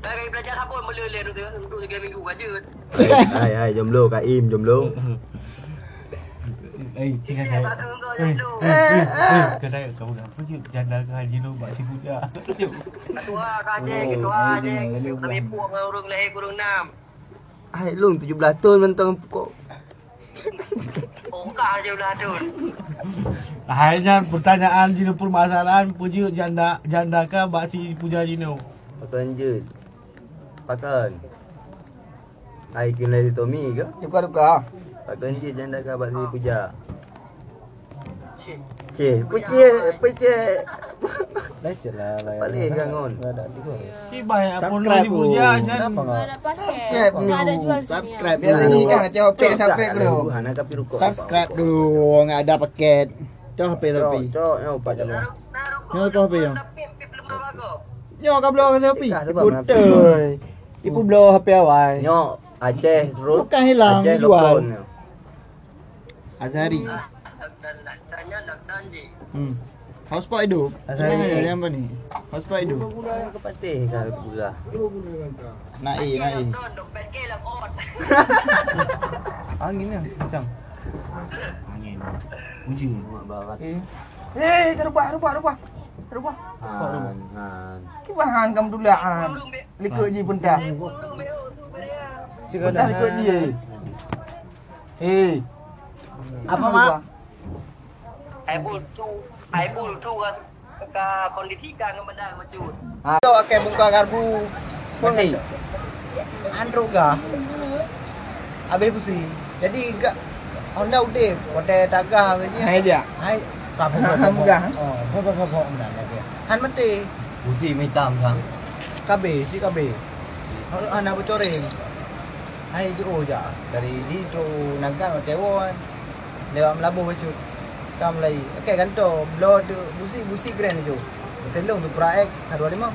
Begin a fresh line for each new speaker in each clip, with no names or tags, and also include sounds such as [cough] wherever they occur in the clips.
Sebagai pelajar sabun mula lain untuk untuk tiga minggu aja.
Ai ai jom lu Kak Im jom lu.
Eh,
Cik
jangan
saya
ada.
tak untuk
Eh,
yang tu.
eh, eh, kadang kamu nak puji janda ke [laughs] haji lu buat tipu dia.
Ketua kaje,
Oh,
ketua
air
je.
jangan
Kita
leluh.
mepuk dengan orang lahir kurung enam.
Ai lu 17 tahun mentang kok.
Oh, kah je ulah tu.
Akhirnya pertanyaan Jino permasalahan puji janda janda ke buat si puja Jino.
Pakan je. Pakan. Ai kena si Tommy ke?
Tukar-tukar.
Pakan je janda kak abang sini puja.
Cik,
Cih, puji, puji.
Lecet lah layan.
Balik kan, Ngon?
Nggak ada tiga.
Si banyak pun
Subscribe
lagi puja
pun.
jangan.
Kenapa
Nggak
nggak?
ada pakai.
Subscribe
Nggak ada
dulu.
jual sini.
Subscribe
Biar
dulu.
tadi kan
Cok, pay, subscribe dulu.
Hana tapi rukuk.
Subscribe dulu. Nggak ada paket. Cok, HP tapi.
Cok, cok, ya upak jom.
naruk naruk.
Ni apa apa yang?
Tapi pip belum bagus.
Nyok kau belum kasi HP.
Ikat sebab kenapa?
Betul. Ibu blow HP awal.
Nyok, Aceh, Ruk.
Bukan hilang,
Aceh,
dijual.
lokon.
Azhari.
Dan nak tanya nak tanji.
Hmm. Hotspot hidup.
Azhari.
Azhari. Azhari apa ni? Hotspot hidup.
Ke Patih kan aku pula.
Naik, naik.
Don dompet ke lah kot.
Angin lah. Macam.
Angin. Puji.
Mak barat.
Eh, kita rubah, rubah, rubah. Rubah.
Han, han.
Kibahan kamu dulu lah.
ah.
Kurung be.
Likut je
[laughs]
pentah.
Kurung be. tu beria.
Pentah likut je. Eh. Apa mak?
Ai bul tu, ai bul tu kan ke kondisi kan kemendang macam.
Ha. Tok akan buka garbu. Pun ni. Andro ga. Abe pusi. Jadi "Oh, ga Honda udah kota dagang macam Hai dia. Hai tak apa muka. Oh, apa apa apa dah lagi. Han mati.
Musim hitam sang.
KB si KB. Han apa coreng. Hai je oh ja. Dari di tu nagang Taiwan. Lewat Melabuh becut. Kam lai. Okey kanto blod busi busi grand je. Telung tu praek harua lima.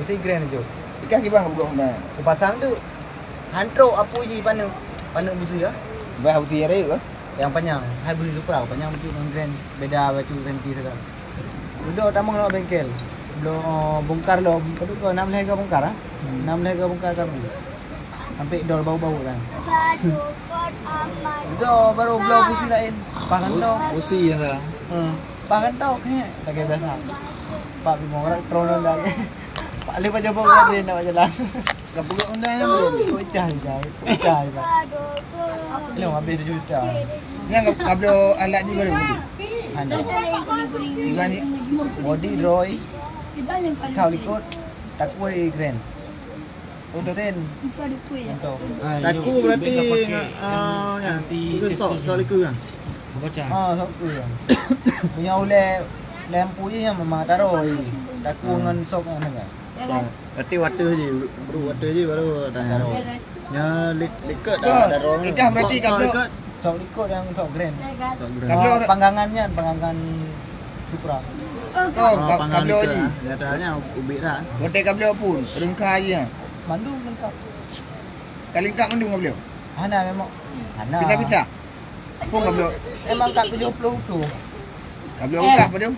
Busi grand je.
Ikan kibang ke budak hundan?
Ku pasang tu. Hantro apa je panang panang busi ah.
Bah putih ada ke?
Yang panjang. Hai busi tu pula panjang betul dengan grand. Beda baju ganti sekarang. Dulu tamang lo bengkel. Lo bongkar lo. Kau kau enam leher kau bongkar ah. Enam leher kau bongkar kamu. Sampai dol bau-bau kan. Itu baru belum busi lain. Pangan tau.
Usi yang salah.
Hmm. Pangan tau ni. Pakai biasa. Pak bimo orang tronon dah. [laughs] Pak lepas jumpa orang dia nak lah. jalan.
Dah budak hundan yang belum.
Pecah dah, pecah dah. Belum habis dah juta.
Yang kau kau ada alat ni baru.
Anda.
Juga ni.
Body Roy. Kau ikut. Tak kuih grand. Untuk sen. Untuk.
Taku berarti ah yang itu sok sok leku kan.
Ah, sok tu yang. Punya oleh lampu je yang memang tak roy. Taku dengan sok dengan kan.
Berarti water je, baru water je baru dah. Ya lek- lekut
Betul.
dah dah ruang.
Kita berarti
kau
kau-
lekut.
Sok ikut yang sok grand. Ah,
Tak gerak.
panggangannya, panggangan Supra.
Kau
Ah,
kau
panggang
kau
lekut
ni.
lah.
Datanya ubik dah.
Hotel kau beliau pun, rengkah je. Mandu lengkap.
Kali kau mendung kau beliau.
Hana memang. Hana.
Pisah-pisah. Pun kau beliau.
Memang kat 70 tu.
Kau beliau ungkap pada.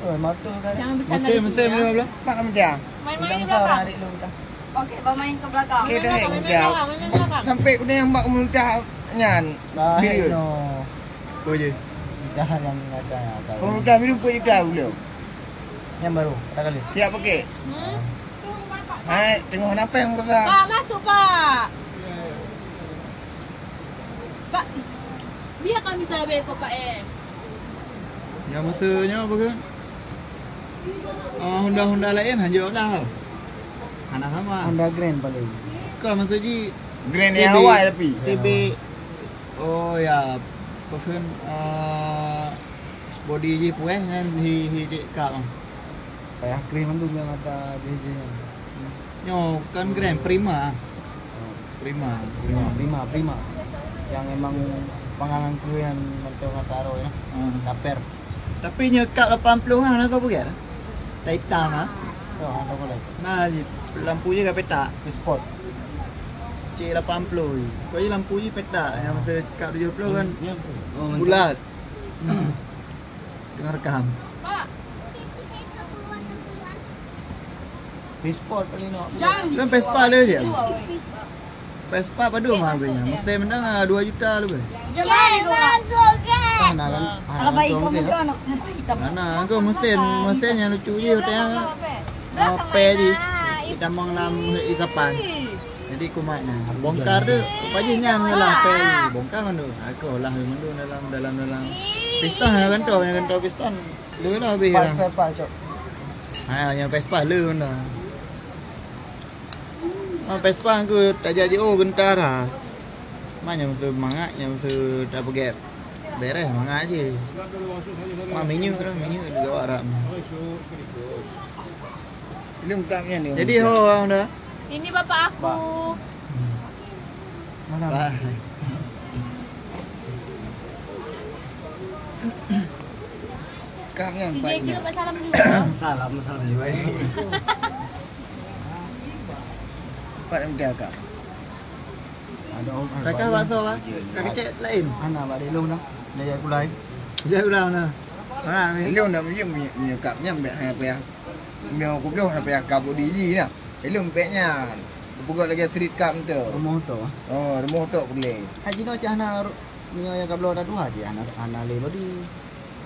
Oh, motor kan.
Jangan bercanda
Musim
di
musim
sini, ya.
beliau beliau.
Mak macam.
Main-main
Ulang
di
sah orang
belakang.
adik lu entah.
Okey, bawa main ke belakang.
Okey,
Main
dah,
belakang, main
dah.
belakang, main belakang.
Sampai kena yang bak memuntah nyan.
Baik
Bila?
no.
Kau je.
Dah yang ada yang ada.
Pemerintah biru pun kita beliau.
Yang baru. Tak kali.
Siap pakai.
Hmm?
Hai, tengok apa yang berada.
Pak, masuk, Pak. Pak, biar kami saya beko, Pak, eh.
Yang masanya apa ke? Oh, Honda-Honda lain hanya Honda tau. Anak sama.
Honda Grand paling.
Kau masa je
Grand
CB,
yang awal tapi.
CB. Oh ya, perfume uh, body je puas kan? dengan hi hi cek kap.
Payah krim tu yang ada JJ.
Nyo kan grand prima. Prima.
Prima, prima, prima. Yang emang pangangan ku yang nanti orang taruh ya.
Ah.
Daper.
Tapi nyo kap 80 lah nak kau pergi dah. Tak hitam lah.
Tu ada boleh.
Nah, je, lampu je kat petak.
Sport.
C80 Kau je lampu je petak Yang masa kat 70 kan Hmm.
Oh,
bulat Dengar rekam
Pak.
Pisport paling nak.
Jam.
Dalam Kan Vespa dia je?
Tu awak.
Vespa pada mahal punya. Mesin benda ah, 2 juta lebih.
Jam mana kau?
Tak nak lah.
Kalau baik kau
ya.
macam mana? Kenapa hitam?
Mana kau mesin, mesin yang lucu je tengah. Ah, pair je.
Nah,
Kita mong lam isapan. Jadi aku mat nah. Bongkar dia, pagi nyam lah pair. je. Bongkar mana? Aku lah mana dalam dalam dalam. Piston yang kentau, yang kentau piston. Lu lah habis.
Pas,
lah.
pas, pas, cok.
Ha, yang Vespa le pun dah. Ha, Vespa aku tak jadi oh gentar dah. Mak yang mesti mangak, yang mesti tak pergi. Daerah mangak je. Mak minyak dah, minyak lah. di gawak dah.
Ini bukan yang ni.
Jadi ho orang dah.
Ini bapak aku.
Vâng.
Mana?
Bye.
Kang yang
Si
baik.
JK dapat salam juga.
Salam, salam.
Pak yang dia kak. Ada om.
Kakak bakso lah. Kakak cek lain.
Ana balik lu dah. Dia aku lain.
Dia ulang dah. Ha, ni.
Elong dah punya punya punya kapnya ambil hai payah. Mio aku belum hai payah kabut diri lah. Elong peknya. Pugot lagi street cup tu.
Rumah tu.
Oh,
Ờ,
rumah tu boleh. Haji no cah nak punya yang kablo ada dua je anak anak le body.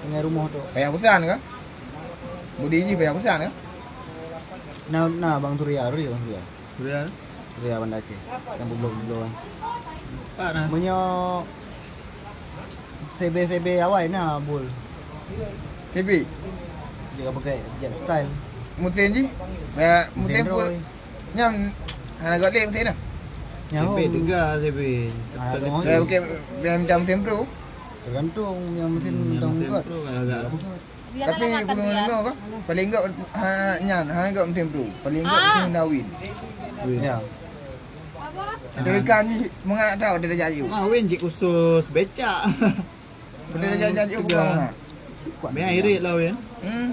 Dengan rumah tu. Payah pesan ke? Budi ni payah pesan ke? Nah, nah Bang Turia, Turia Bang Turia.
Sudah.
Turia Bandar Aceh. Yang blok-blok.
Pak dah.
Punya CB-CB awal nah bol.
Tapi
Dia pakai jet style.
musim je uh, musim
Zero
pun
eh.
nyam hana got late musim dah.
CB tiga CB.
Ah, ada
Ừ.
Dah
orang
okey dah macam musim pro.
Tergantung yang mesin
Yang
tentang
mesin
buat.
tu kalau agak.
Biarlah
Tapi
lah makan
belum
biar.
lama apa? Paling got hana nyan hana got musim pro. Paling got
Ah.
musim dah win.
Dạ.
Ya.
Apa?
Terdekat ni mengak tahu dia dah jadi.
Mak win cik Ah, khusus becak.
Dia dah jadi jadi
Tiga.
pulang. ah.
Banyak irit lah win.
Hmm.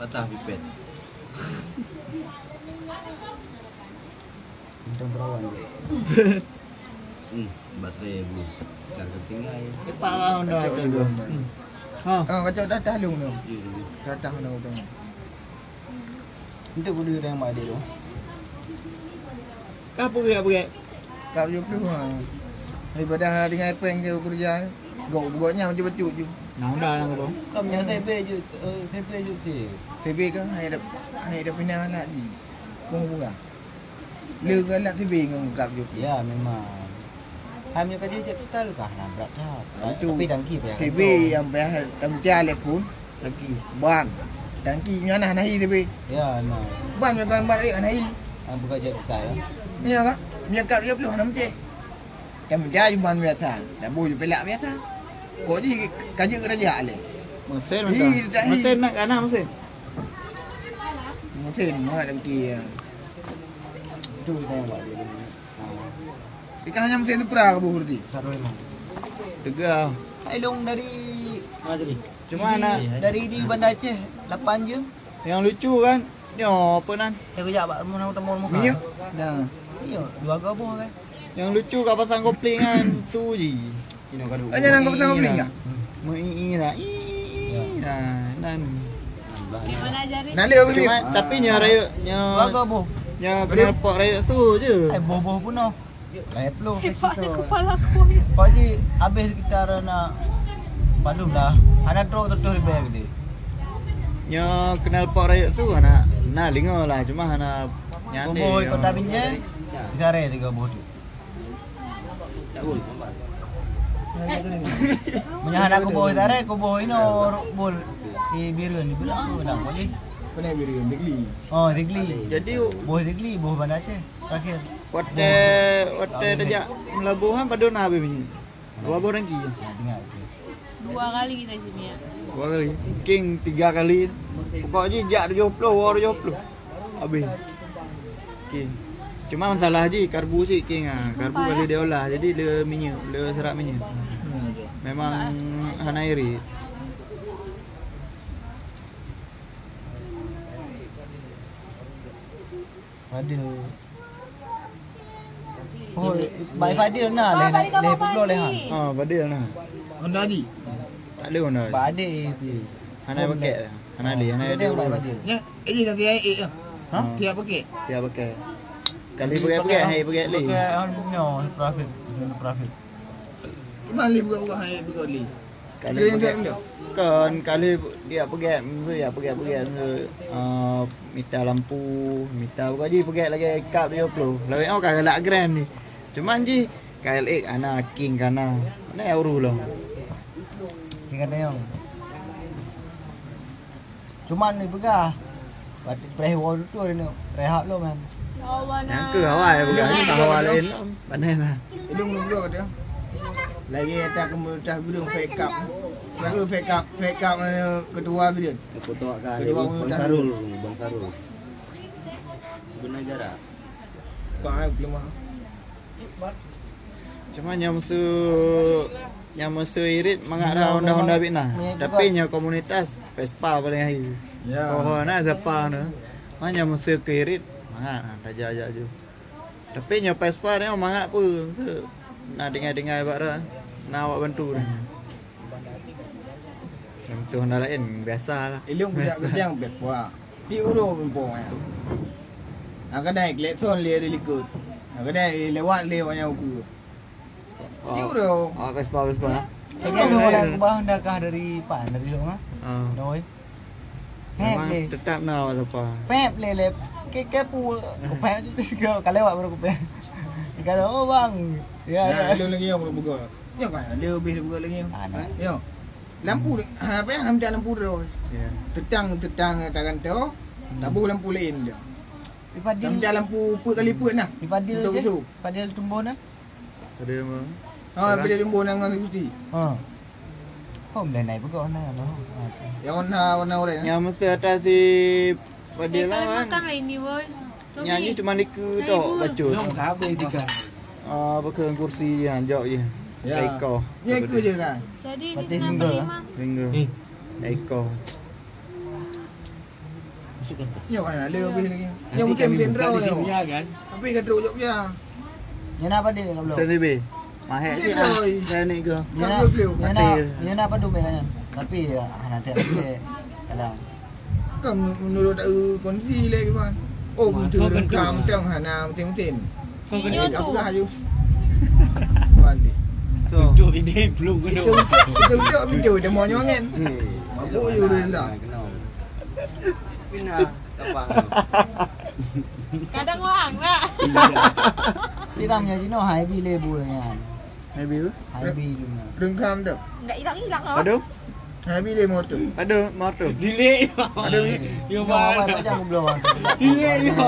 Patah pipet.
[laughs] Tentang perawan dia.
Hmm, baterai belum. Dah ketinggal.
Lepak lah Honda macam tu. Hmm. Ha.
Ah kacau dah dah lung tu.
Ya, dulu.
Dah dah dah tu.
Untuk kudu yang mak dia tu.
Kau pergi apa pergi?
Kat 70 ha. Daripada hana dengan apa yang dia kerja. Gok-goknya macam becuk je.
Nah Honda lah kau.
Kau punya CB je, eh, CB je cik.
TV ke hai dah hai dah pinang anak di. Bunga-bunga. Lu ke anak TV dengan kat 70.
Ya memang. Hai punya kerja jet style kah? Nah, berat dah.
Itu
Tapi tangki payah.
TV
kantong.
yang payah tempat le pun
Lagi.
ban. Tangki nyana nahi TV.
Ya memang.
Ban memang ban ai nahi.
Ah, buka jet style. lah.
Nya ka? Nya kat dia puluh enam je. Kan dia ban biasa. Dah boleh pelak biasa. Kau ni kerja kerja ale.
Mesin
Hi,
macam.
dah hi.
Mesin nak kanan mesin.
Mungkin mana ada ki.
Itu kita yang buat dia tu. Ah,
Ikan hanya mesti tu pura ke buhur di.
Satu lima.
Tegar.
Hai long dari
Mana tadi?
Cuma nak
dari di Bandar Aceh 8 jam.
yang lucu kan. Ya apa nan?
Eh kejap bak rumah nama temu muka.
Minyak. Nah.
Iya, dua gabung kan.
Yang lucu kau pasang kopling kan. Tu je.
Hanya nak kau pasang kopling ke?
Mengira. Ya. Nan.
Gimana ajarin?
Nalik aku ni. Ah.
Cuma tapi nya raya nya
Dua gabung.
nya kena pot raya tu je.
Eh bobo pun noh. Lain pelu
Cepat
kaki tu.
kepala aku.
Pagi habis kita nak Bandung dah. Ada drop tu tu bag dia.
Nya kenal pot raya tu anak. Nah lingo lah cuma anak nyantai.
Bobo
ya.
kota Binjai. Di sare tiga bobo tu. Menyahan aku boy sare, aku boy no bol. Si biru ni bila aku dah boy.
Kena beri negeri.
Oh, Zigli.
Jadi
Boy Zigli, boy Bandar Aceh. Terakhir.
Wate wate dajak melabuhan pada na lah habis ni. Dua orang ki.
Ya, dengar. tu.
Dua kali kita sini
Ah,
ya.
Dua kali. King tiga kali. Pokok je jak 70 war 70. Habis. King. Cuma masalah je karbu je king ah. Karbu kali dia olah jadi le minyak, le serap minyak. Memang hanairi.
Fadil. Oh, baik Fadil nah leh nak leh pulau leh.
Ha, oh, Ah, badil nah.
Honda di.
Tak ada orang.
Pak Adik.
Ha Hanai pakai lah. Hanai dia, hanai dia.
Dia baik pada
Ni, ini kan dia eh. Ha? Dia pakai.
Dia pakai. Kali pakai-pakai, hai pakai leh.
Pakai hang punya profit, punya profit.
Iman li buka-buka hai buka li.
Kali
Dia
pakai.
dia.
Kan kali dia pakai, mesti dia pakai-pakai. Uh, mita lampu, mita apa je pakai lagi kap dia puluh. Lawak kau kagak nak grand ni. Cuma ji KLX anak king kana. Mana euro lah.
Dia kata yang Cuma ni pegah. Pati preh wall tu dia nak rehat lo man.
Kawan
Yang
lah.
ke awal ya bukan ni tak awal lain lah. Pandai lah.
Hidung lu buka kata. Lagi atas kemudah gedung fake up. Baru fake up, fake up mana ketua bidun.
Aku tahu kan ada
Kedua
Bang
orang
Karul, Bang Karul. Benar jarak.
Pak belum mah.
Cuma yang masa yang masa irit mangak dah honda-honda bitnah. Tapi yang komunitas Vespa paling akhir.
Ya.
Oh, nak siapa tu? Mana masa ke irit mangak lah, dah ajak je. Tapi yang Vespa ni orang mangak apa? Masa nak dengar-dengar buat dah. Nak awak bantu dah. Yang masa honda lain biasa lah.
Ilung kudak ketiang bek buah. Ti uro pun ya. Agak naik lekson le relikut. Agak naik lewat le wanya ukur. Ti uro.
Oh, Vespa Vespa. lah.
Kita ni orang kubah dah kah dari pan dari lo mah.
Ah.
Noi. Heh
Memang
leh.
tetap nak awak siapa.
Pep leh leh. Ke ke pu ku pep tu tu kau kalau awak baru ku pep. Dia kata oh bang. Ya ya.
Ya, ilung lagi yang belum buka. Ya kan, dia lebih dia buka lagi.
Anak.
Ya. Lampu dia- ha, apa yang lampu lampu dia.
Ya.
Tetang-tetang tangan tu. Tak boleh lampu lain dia.
Ipadil.
Lampu lampu put kali lah. put nah.
Ipadil
Untuk
Eh, je.
usul.
Ipadil tumbuh nan.
Ada mah.
Ha, bila dia limbo nang gusti.
Ha. Kau dah naik pegak nak Ha. lo.
Yang warna warna orang.
Yang mesti atas si Pada lah kan Nyanyi cuma leka tok bacut
Belum habis tiga.
Ah, Pakai kursi yang jauh je
Ya.
Ekor
Ya ke je kan.
Jadi ni
Parti
kenapa
single
ni
lah.
Mak?
Lingga
Eh.
Ekor
Ya kan, dia lebih lagi. Yang mungkin mungkin draw
Di sini ya
ya.
kan.
Tapi kat drop jok je.
Dia nak apa dia kau belum?
Saya lebih Mahal
Macam
si
mana,
ah
oi?
Saya ni
Dia
ke
Kan
nak,
dia beliau.
dia
Mati
Ya, nak,
dia.
dia nak padu kan. Tapi ah, nanti aku kadang.
Kan menurut aku kondisi lagi kan. Oh, betul rekam tang hana mungkin-mungkin.
Video tu.
Aku dah hayu. [laughs] Balik.
Duduk ini belum kena.
Kita duduk video dia mau nyongen. Mabuk je dia lah.
Kenal.
Kadang orang lah.
Kita punya Cino high B label kan.
Habis apa?
High B cuma.
Rekam dah.
Nggak hilang-hilang lah.
Padu?
Habis dia motor.
Padu? Motor?
Delay. Ada ni. Yo
Cino apa
mana?
macam aku belum.
Delay yo.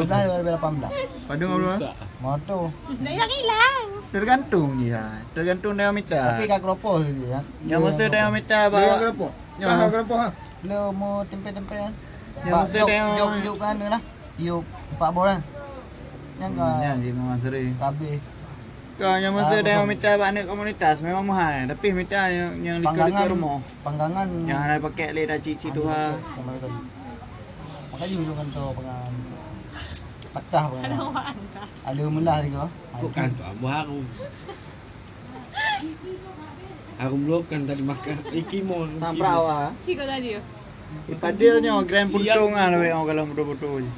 12 2018.
Padu apa? luar?
Motor.
Nggak hilang-hilang.
Tergantung je lah Tergantung diameter
Tapi kat keropos je kan.
Yang masa diameter
Dia yang
bawa
kenapa?
Ya.
Tahan kenapa ha?
Lo mau tempe-tempe kan.
Yang
Pak
mesti
jok
tengok-
jok yuk kan tu lah. Yuk pak boran. Yang
Hmm,
kan.
Yang je memang sering
Kabeh.
Kau yang masa
Ah,
dia
betul.
minta buat anak komunitas memang mahal tapi minta yang yang
Panggangan
dekat-dekat rumah.
Panggangan.
Yang ada paket leh dah cici tu ha.
Makanya dulu kan tu pengan patah pengan.
Kadang orang lah.
Ada mulah juga.
Kok kan tu abah aku. Aku belum kan tadi makan ikimon.
Samprau ah.
Cikgu tadi.
Ipadilnya grand
Siap.
puntung ah lebih orang kalau betul-betul je.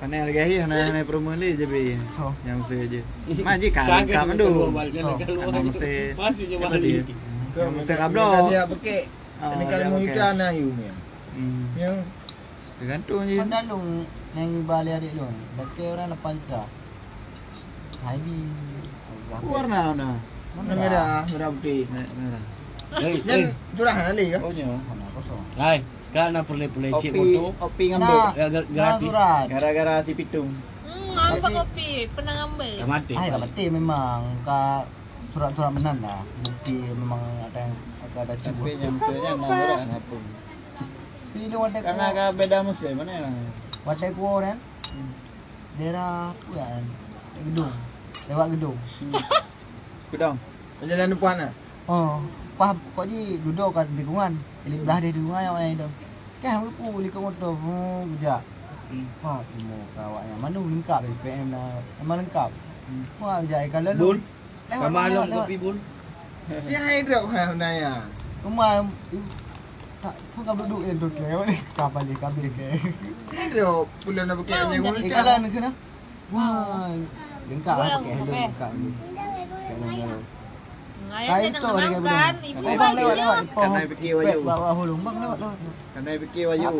Panel gahi nak nak promo leh je be.
So.
Yang masa je. Mak je kan kan mandu. Masih-
Masih je
Apa
balik.
dia?
Kau
Yang
minta
mesti
kablo.
kablo.
Dia pakai.
kan, Ah,
Ini kalau
dia
mau
pakai.
kita na you punya.
Hmm.
Ya.
Tergantung je.
Pandalung nyanyi balik adik lu. Pakai orang lepas juta. Haidi.
Warna warna.
Warna merah, merah putih.
lah, Merah.
Hey, hey.
Dan surah nali ke?
Ohnya.
Mana kosong.
Hai, kan nak perle-perle cik
Kopi,
motor.
kopi
Nak,
ngambek.
Ya, gra-
nak
gratis.
surat.
Gara-gara si pitung.
Hmm, ngambil kopi. Pernah ngambil.
Dah mati.
Ah, dah betul memang. Kak surat-surat menan lah. Bukti memang ada yang ada cibu.
Tapi yang masa je nak berat apa.
Pilih wadah
Karena
kuah.
agak Hmm. beda muslim mana lah.
Wadah kuah kan. Daerah apa kan? Dekat Gedung. Lewat gedung.
Kudang.
Jalan depan ah.
Oh, pah kau ni duduk kat dekungan. Ini belah dia dekungan yang yang itu. Kan lupu liko motor. Hmm, kejap. Hmm. Wah, timo kawak yang mana lengkap dari PM dah. Memang lengkap. Hmm. Wah, kejap eh, kalau
Bun,
Lewat,
sama
lewat,
along
lewat.
kopi bun.
à? Si hai drop ha naya.
Rumah Eh, Tak, kau kan duduk yang tu ke ni. Kau balik kabel ke.
Hello, pula nak pakai aja
Eh,
gua.
kalah nak kena. Wah. Lengkap lah pakai helm lengkap ni. Pakai helm
Ngayon din ang namangkan. Ibu
Ibang
ba
lewat
yun?
lewat. Ipong.
Kanai fikir wayang.
Bawa hulung bang lewat lewat.
Kandai fikir wayu.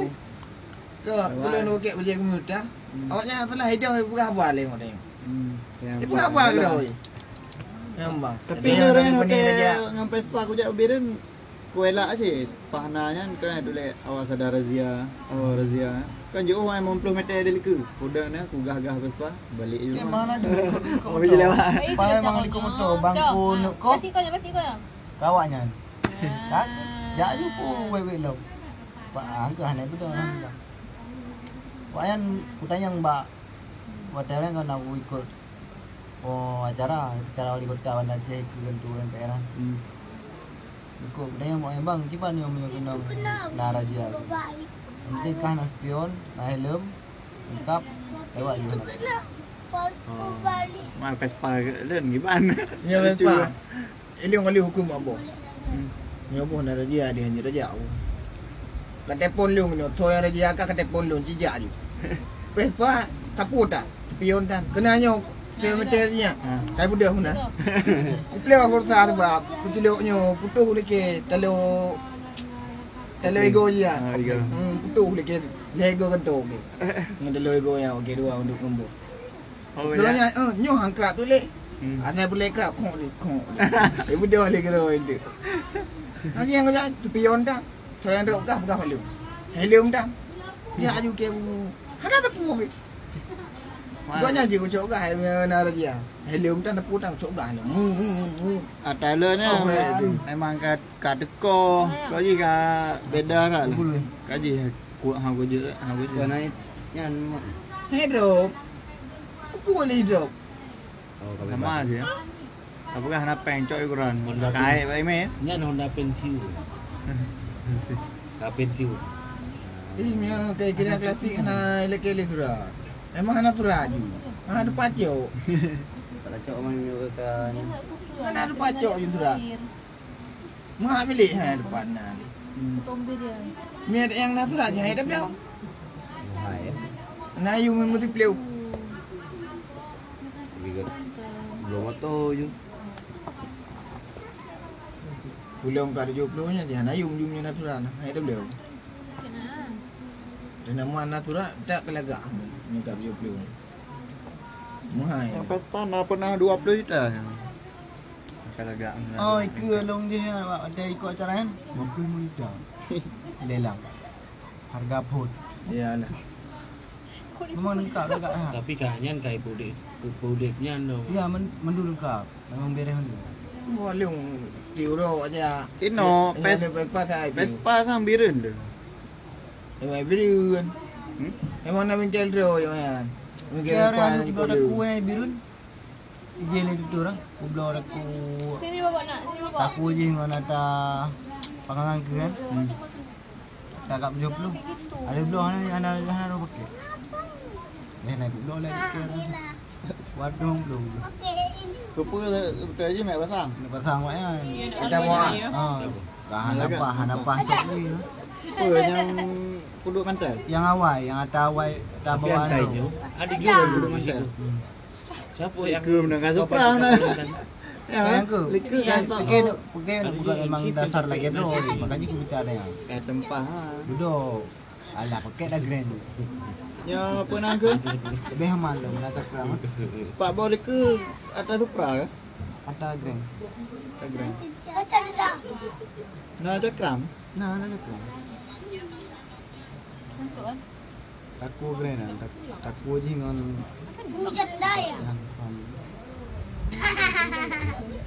Kau pula nak pakai aja gua dah. Awaknya apalah hidang ibu kah buat leh ngono.
Hmm, Ừ.
Ibu kah buat kau. Ngambang.
Tapi ni Ren hotel dengan Vespa aku jap Biren Kau elak asyik Pahananya kena dulu awak sadar razia Awak razia Kan jauh main 50 meter ada leka Kodang ni aku gah-gah Vespa Balik je
Ke
rumah
mana
[laughs]
dia ikut ikut
Orang pergi lewat
Pakai mang liko motor
Ah,
bangku nuk kau
Pati ko na, pati ko na.
kawannya. Tak.
Ah.
Ya. Jak ju pun wewe lau. Pak angka hanai betul lah. Pak yang ku tanya mbak. Hotel kan nak aku ikut. Oh acara acara wali kota Bandar Aceh ke Gentu MPR kan.
Hmm.
Ikut aku tanya mak bang cipan yang punya kena. Nah raja. Penting kan nak spion, nak helm, lengkap. Lewat je.
Main Oh. Vespa ke Ren gimana [laughs] lah.
Ya memang. Ini orang liu hukum apa? Ni apa nak dia dia hanya dia aku. Kat telefon liu ni, tu yang dia akak kat telefon liu jejak je. Pespa tapu tak? Pion tan. Kena nyo kilometer ni.
Ah.
Kai budak pun dah. [laughs] Iple aku rasa ada bab. Kucu liu nyo putuh leke telo telo ego je. ah.
Ah, ego.
Hmm putuh leke lego kan tu. Ngan telo ego yang okey dua untuk kumbu.
Oh
Lo nya eh, nyo hangkat tu lek.
Hmm.
Anak boleh kerap kong ni kong. Ibu dia boleh kena
[laughs]
itu. Nanti yang kau tu pion dah. Saya yang rokah bukan malu. Helium dah. Dia aju ke bu. Hada tak pu. Gua nya ji ku cok gah na lagi ah. Helium dah tak pu dah cok gah ni. Hmm, Hmm hmm, hmm.
Ah, Tyler ni
Oh,
memang-
tu.
memang kat kat deko. Kau je kat beda rat lah. Kau je kuat hang kau je hang kau je.
Kau
Oh,
naik yang mak.
Hei drop. Ku pu boleh drop.
Oh, kau
Sama
bebas.
je. Apa kah nak pencok ukuran? Kai baik meh.
Nyan Honda Pensiu. Kak Pensiu.
Ini mio kai kira klasik na elek elek surat. Emang anak surat ju. Ha ada pacok.
Kalau cok main juga kan.
Mana ada pacok ju surat. Mak milik ha depan na.
Tombe dia.
Mia ada yang nak surat je hai dah beliau.
Hai. eh.
Nah, you memang tu play.
Tapi kan belum motor je.
Pulang kat dia peluangnya dia. Nah, you jumnya natural. Nah, ada beliau.
Kena.
Dan nama natural tak kelagak. Ni kat dia peluang. Mahai.
Yang Vespa nak pernah 20 juta. Kalau agak.
Oh, ikut long je awak ada ikut acara kan? 20
[laughs]
minit. Lelang. Harga pun.
Ya lah.
Memang lengkap lengkap lah.
Tapi kahnya kai bodek. Bodeknya no.
Ya, men, mendu lengkap. Memang beres mendu.
Bolong tiuro aja.
Tino,
pes
pes-
pes pasai. Pes.
Vespa sang biren tu.
Emang birun.
Hmm?
Emang nak minta dro yang kan. Mungkin
Kira
kan
ada
kau
tiba ada
dulu.
kue birun. Ije le tu orang. Ku blow ada ku.
Sini bawa nak, sini bawa.
Taku je mana ada pangangan ke kan? Hmm. Cakap beliau perlu. Ada blow ana ana ana ro pakai. Eh, naik blow lagi ke. Waduh blow.
Kepa betul je mek pasang.
Nak pasang awak kan.
Kita buat.
Ha. Dah ada apa, ada apa sekali.
Apa yang kuduk mantel?
Yang awal, yang ada awal, ada
Tapi
bawaan
antai
tu.
je. Ada gila dulu masa.
Mantel.
Siapa
Ikut
yang
mendengar
kau
Supra, nah.
patut-
Ya, eh?
Yang ke?
Leka kasar.
Okey, okey nak buka memang dasar lagi tu. Makanya aku minta ada yang.
Kat tempah. ha.
Duduk. Alah, pakai dah grand tu.
Ya apa nak ke?
Lebih aman lah nak cakap ramah.
Sepak bola ke atas Supra ke?
Ada grand.
Tak gerak. Nak cakram?
Nah, nak cakap.
Untuk kan.
Takut gerak
lah.
nak. Takut je dengan
Hujan dah ya?
yang faham.